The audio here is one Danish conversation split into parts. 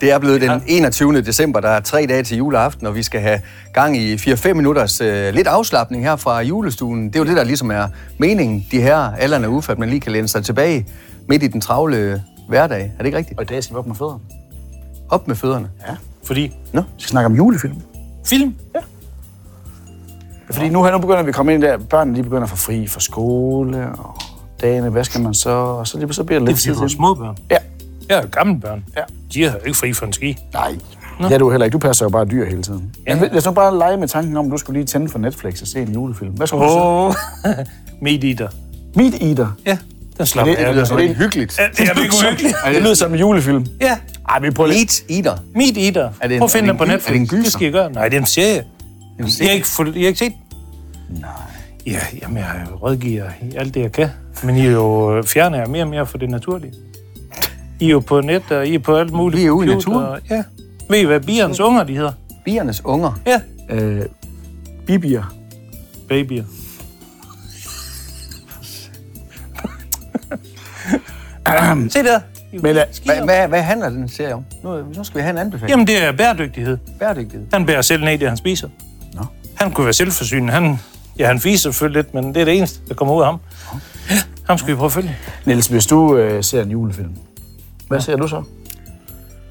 Det er blevet den 21. december, der er tre dage til juleaften, og vi skal have gang i 4-5 minutters øh, lidt afslappning her fra julestuen. Det er jo det, der ligesom er meningen, de her alderne ufe, at man lige kan læne sig tilbage midt i den travle øh, hverdag. Er det ikke rigtigt? Og i dag skal vi op med fødderne. Op med fødderne. Ja. Fordi Nå. vi skal snakke om julefilm. Film? Ja. Fordi nu her nu begynder vi at komme ind der, børnene de begynder at få fri fra skole, og dagene, hvad skal man så? Og så, lige- så bliver det Det lidt er fordi, du tid har til- små børn. Ja. Jeg er gamle børn. Ja. De har jo ikke fri for en ski. Nej. Nå. Ja, du heller ikke. Du passer jo bare dyr hele tiden. Ja. Men lad os nu bare lege med tanken om, at du skulle lige tænde for Netflix og se en julefilm. Hvad skulle oh. du Åh, meat-eater. se? Meat Eater. Ja, den slapper Er det- jeg. Det lyder sådan det- rigtig hyggeligt. Ja, det er virkelig hyggeligt. Det lyder som en julefilm. Ja, Ej, vi prøver lidt. Meat eater. meat-eater. Er det en- Prøv er at det finde den en på gy- Netflix. er det en gyser? Det skal jeg gøre. Nej, det er en serie. Jeg serie? har ikke, fuld- jeg har ikke set den. Ja, jamen, jeg er jo rådgiver i alt det, jeg kan. Men I er jo øh, fjerner jer mere og mere for det naturlige. I er jo på net, og I er på alt muligt. Vi er ude i computer, naturen. og- Ja. Ved I, hvad bierens unger de hedder? Biernes unger. Ja, Øh, bibier. babyer. Se der. I- Men lad- skider. Hvad, hvad, hvad handler den serie om? Nu, øh, nu skal vi have en anbefaling. øh, Jamen, det er bæredygtighed. Bæredygtighed. Han bærer selv ned det, han spiser. Nå. Han kunne være selvforsynende. Han, ja, han fiser selvfølgelig lidt, men det er det eneste, der kommer ud af ham. Ja, ham skal vi prøve at følge. Niels, hvis du øh, ser en julefilm, hvad ser du så?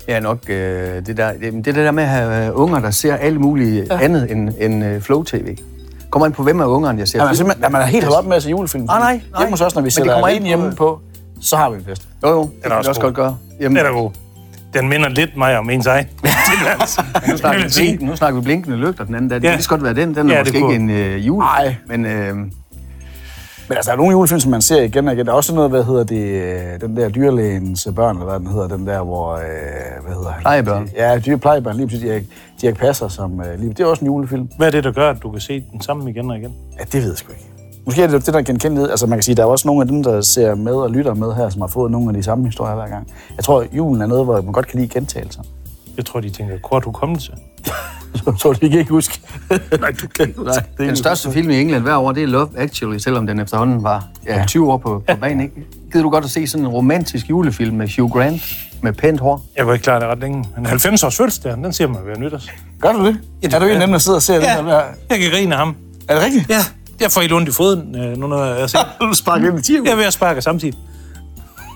Ja, nok øh, det, der, jamen, det er det der med at have øh, unger, der ser alt muligt ja. andet end, end øh, Flow-TV. Kommer an på, hvem af ungerne, jeg ser. altså, Er man, film. simpelthen, er man helt holdt op med at se julefilm? Ah, nej, nej. Hjemme hos os, når Men vi det sætter kommer alene ind på- hjemme på, så har vi en fest. Jo, jo, det kan er vi også også god. godt gøre. Jamen, Den er da god. Den minder lidt mig om ens egen tilværelse. nu, snakker vi blink, nu snakker vi blinkende lygter den anden dag. Det Ja. kan lige så godt være den. Den er ja, Ja, det måske ikke kunne. en øh, jul. Nej. Men øh, Men altså, der er nogle julefilm, som man ser igen og igen. Der er også sådan noget, hvad hedder det, øh, den der dyrlægens øh, børn, eller hvad den hedder, den der, hvor, øh, hvad hedder han? Plejebørn. Ja, dyre plejebørn, lige præcis, Dirk, Dirk Passer, som øh, lige, det er også en julefilm. Hvad er det, der gør, at du kan se den samme igen og igen? Ja, det ved jeg sgu ikke. Måske er det det, der er genkendelighed. Altså, man kan sige, der er også nogle af dem, der ser med og lytter med her, som har fået nogle af de samme historier hver gang. Jeg tror, julen er noget, hvor man godt kan lide gentagelser. Jeg tror, de tænker kort hukommelse. Så tror de kan ikke huske. Nej, du kan ikke huske. den største film i England hver år, det er Love Actually, selvom den efterhånden var ja, 20 år på, på banen. Ikke? Gider du godt at se sådan en romantisk julefilm med Hugh Grant med pænt hår? Jeg var ikke klar det ret længe. Men 90 års fødselsdag, den ser man ved nytårs. Gør du det? Ja, det er du gør en af jeg. dem, der sidder og ser ja. det Ja, her? hver- jeg kan grine af ham. Er det rigtigt? Ja, jeg får helt ondt i foden, øh, nu når jeg har set den. Du sparker ind i tiven. Jeg er ved at sparke samtidig.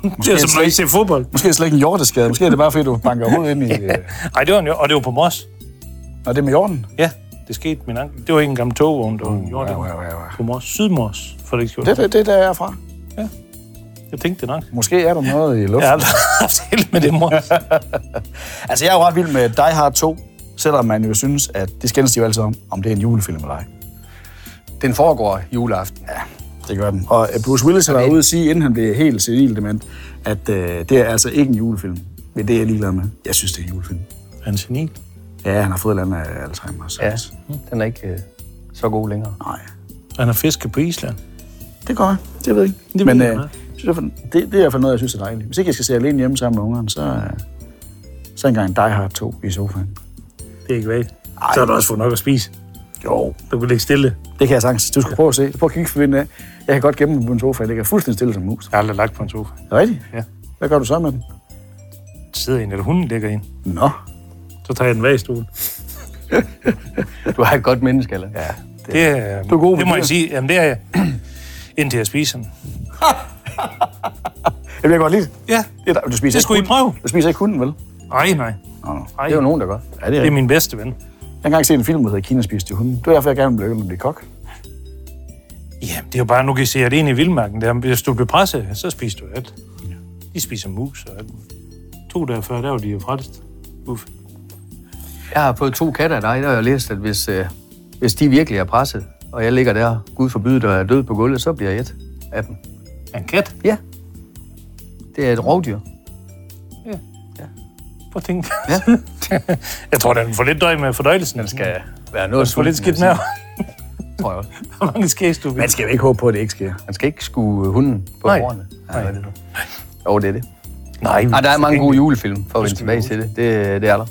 Det er som når I ser fodbold. Måske er det slet ikke en hjorteskade. Måske er det bare, fordi du banker hovedet ind i... øh, Ej, det var en, jord- og det var på Mors. Nå, det er med jorden. Ja, det skete min ankel. Det var ikke en gammel togvogn, der var en jord. Mm, ja, ja, ja. På Mors. Sydmors, for det ikke Det, det, det er der, jeg er fra. Jeg tænkte det nok. Måske er der noget i luften. Jeg Ja. har aldrig haft held med det, mor. Altså, jeg er jo ret vild med Die Hard 2, selvom man jo synes, at det skændes de jo altid om, om det er en julefilm eller ej. Den foregår juleaften. Det gør den. Og øh, Bruce Willis har været ude at sige, inden han blev helt civil dement, at øh, det er altså ikke en julefilm. Men det er jeg ligeglad med. Jeg synes, det er en julefilm. Han er senil. Ja, han har fået et eller andet af Alzheimer. Så Ja, ja. den er ikke øh, så god længere. Nej, Han har fisket på Island. det går jeg. Det ved jeg ikke. Det ved Men jeg øh, godt. synes jeg, for- det, det er i hvert fald noget, jeg synes er dejligt. Hvis ikke jeg skal se alene hjemme sammen med ungeren, så, øh, så engang Die Hard 2 i sofaen. Det er ikke vagt. Så har du også fået nok at spise. Jo, Du kan ligge stille. Det kan jeg sagtens. Du skal prøve at se. Prøv at kigge for vinden af. Jeg kan godt gemme den på en sofa. Jeg ligger fuldstændig stille som en mus. Jeg har aldrig lagt på en sofa. Er det rigtigt? Ja. Hvad gør du så med den? Sidder en, eller hunden ligger ind. Nå. Så tager jeg den væk i stuen. Du er et godt menneske, eller? Ja. Det, er, Du er god med det må dyr. jeg sige. Jamen, det er jeg. Indtil jeg spiser den. Jeg bliver godt lide det. Ja. det. er dej- Du spiser Det skulle I ikke hunden. prøve. Du spiser ikke hunden, vel? Ej, nej. Nå, nå. Ej, Det er jo nogen, der gør. Ja, det er det er rigtigt. min bedste ven. Jeg har engang set en film, der hedder Kina spiste hunden. Det var derfor, jeg gerne ville begynde at blive kok. Ja, det er jo bare, nu kan I se, at det er en i vildmarken. Der, hvis du bliver presset, så spiser du alt. De spiser mus og alt. To dage før, der var de jo frelst. Uff. Jeg har fået to katte af dig, der har jeg læst, at hvis, øh, hvis de virkelig er presset, og jeg ligger der, Gud forbyde, der er død på gulvet, så bliver jeg et af dem. En kat? Ja. Det er et rovdyr. Prøv at tænke. Ja. jeg tror, den får lidt døj med fordøjelsen. Den Skal være noget få lidt skidt med. tror jeg også. Hvor mange skæs du vil. Man skal jo ikke håbe på, at det ikke sker. Man skal ikke skue øh, hunden på Nej. hårene. Nej. Nej. Jo, det er det. Nej, vi Ah, der er mange gode julefilm, for at vende skal tilbage vi til det. det. Det er der.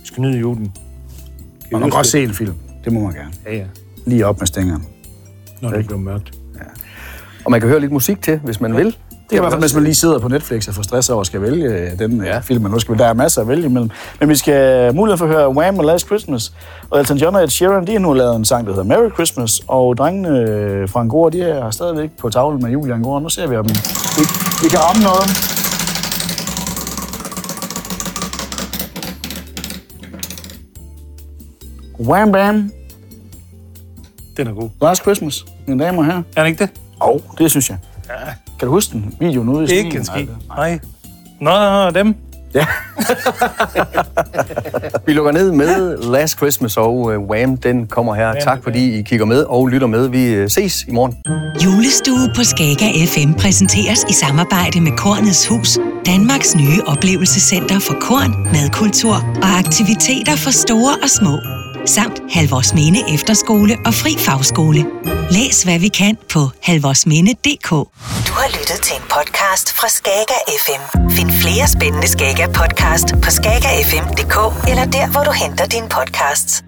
Vi skal nyde julen. Og man kan godt se en film. Det må man gerne. Ja, ja. Lige op med stængeren. Når det bliver mørkt. Og man kan høre lidt musik til, hvis man vil. Det er i hvert fald, hvis man lige sidder på Netflix og får stress over at skal vælge øh, den ja. film, man nu skal vælge. Der er masser at vælge imellem. Men vi skal øh, muligheden for at høre Wham! og Last Christmas. Og Elton John og Ed Sheeran, de har nu lavet en sang, der hedder Merry Christmas. Og drengene øh, fra Angora, de er stadigvæk på tavlen med Julian Angora. Nu ser vi, om vi, vi kan ramme noget. Wham Bam, Den er god. Last Christmas, mine damer og herrer. Er den ikke det? Åh, oh, det synes jeg. Ja. Kan du huske den? Videoen ude i sneen? Ikke en skid. Nej, det- Nej. Nå, nå, nå, dem. Ja. Vi lukker ned med Last Christmas og uh, Wham! Den kommer her. tak fordi I kigger med og lytter med. Vi uh, ses i morgen. Julestue på Skaga FM præsenteres i samarbejde med Kornets Hus, Danmarks nye oplevelsescenter for korn, madkultur og aktiviteter for store og små. Samt Halvorsminde Efterskole og Fri Fagskole. Læs hvad vi kan på halvorsminde.dk. Du har lyttet til en podcast fra Skager FM. Find flere spændende Skager podcast på skagerfm.dk eller der, hvor du henter dine podcasts.